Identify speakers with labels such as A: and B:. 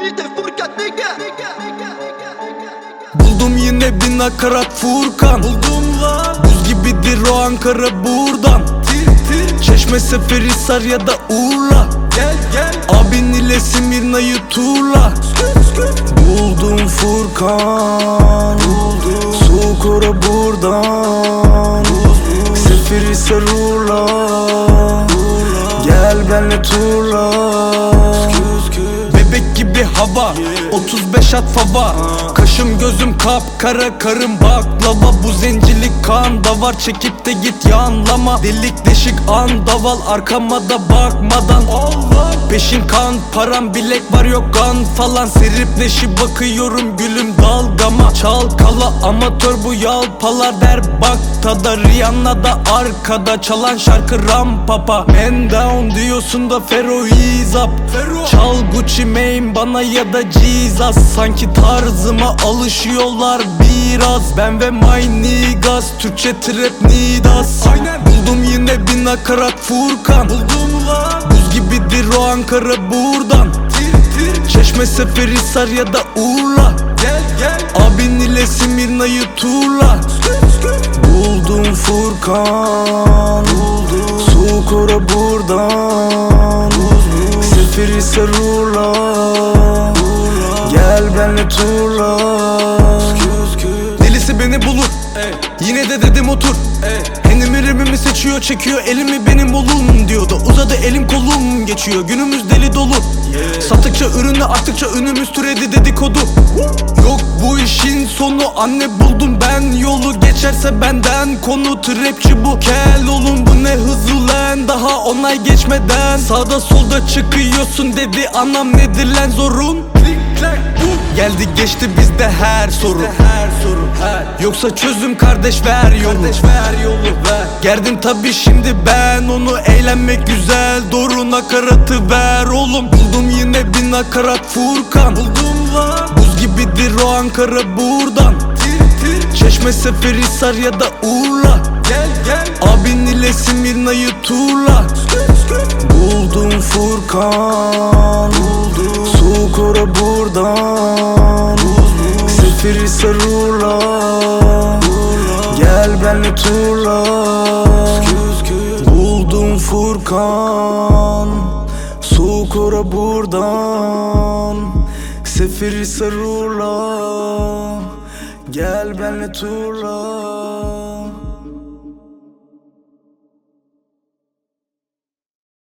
A: hedef vururken nigga Nigga, nigga, nigga, nigga, nigga.
B: Buldum yine bin nakarat Furkan Buldum lan Buz gibidir o Ankara buradan Tir tir Çeşme Seferihisar ya da Urla Gel gel Abin ile Simirna'yı turla Buldum Furkan Buldum Sukura buradan Seferihisar Urla Gel benle turla Bebek gibi hava 35 at fava Kaşım gözüm kapkara karım baklava Bu zencilik kan davar çekip de git yanlama Delik deşik an daval arkama da bakmadan Peşin kan param bilek var yok kan falan Serip neşi bakıyorum gülüm dalgama Çal kala amatör bu yalpalar der bak tada Rihanna da arkada çalan şarkı rampapa Man down diyorsun da Fero is up Çal Gucci Mane bana ya da Jesus Sanki tarzıma alışıyorlar biraz Ben ve my niggas Türkçe trap nidas Buldum yine bir nakarat Furkan Buldum lan Buz gibidir o Ankara buradan Çeşme Seferihisar ya da Urla Gel gel Abin ile Simirna'yı turla Buldum Furkan Buldum Sukura buradan Seferihisar Urla Gel benle turla Delisi beni bulur Yine de dedim otur Henimi remimi seçiyor çekiyor Elimi benim olun diyordu Uzadı elim kolum geçiyor Günümüz deli dolu Sattıkça ürünü arttıkça ünümüz türedi dedikodu Yok bu işin sonu Anne buldum ben yolu Geçerse benden konu Trapçi bu kel olun bu ne hızlı lan Daha onay geçmeden Sağda solda çıkıyorsun dedi Anam nedir lan zorun Geldi geçti bizde her soru Yoksa çözüm kardeş ver yolu Gerdim tabi şimdi ben onu Eğlenmek güzel doğru nakaratı ver oğlum Buldum yine bir nakarat Furkan Buldum lan Buz gibidir o Ankara buradan Çeşme Seferihisar ya da Urla Gel gel Abin ile Simirna'yı turla Buldum Furkan Buldum Sukura buradan Seferihisar Urla Gel benle turla Buldum Furkan Sukura buradan Seferihisar Urla Gel benle turla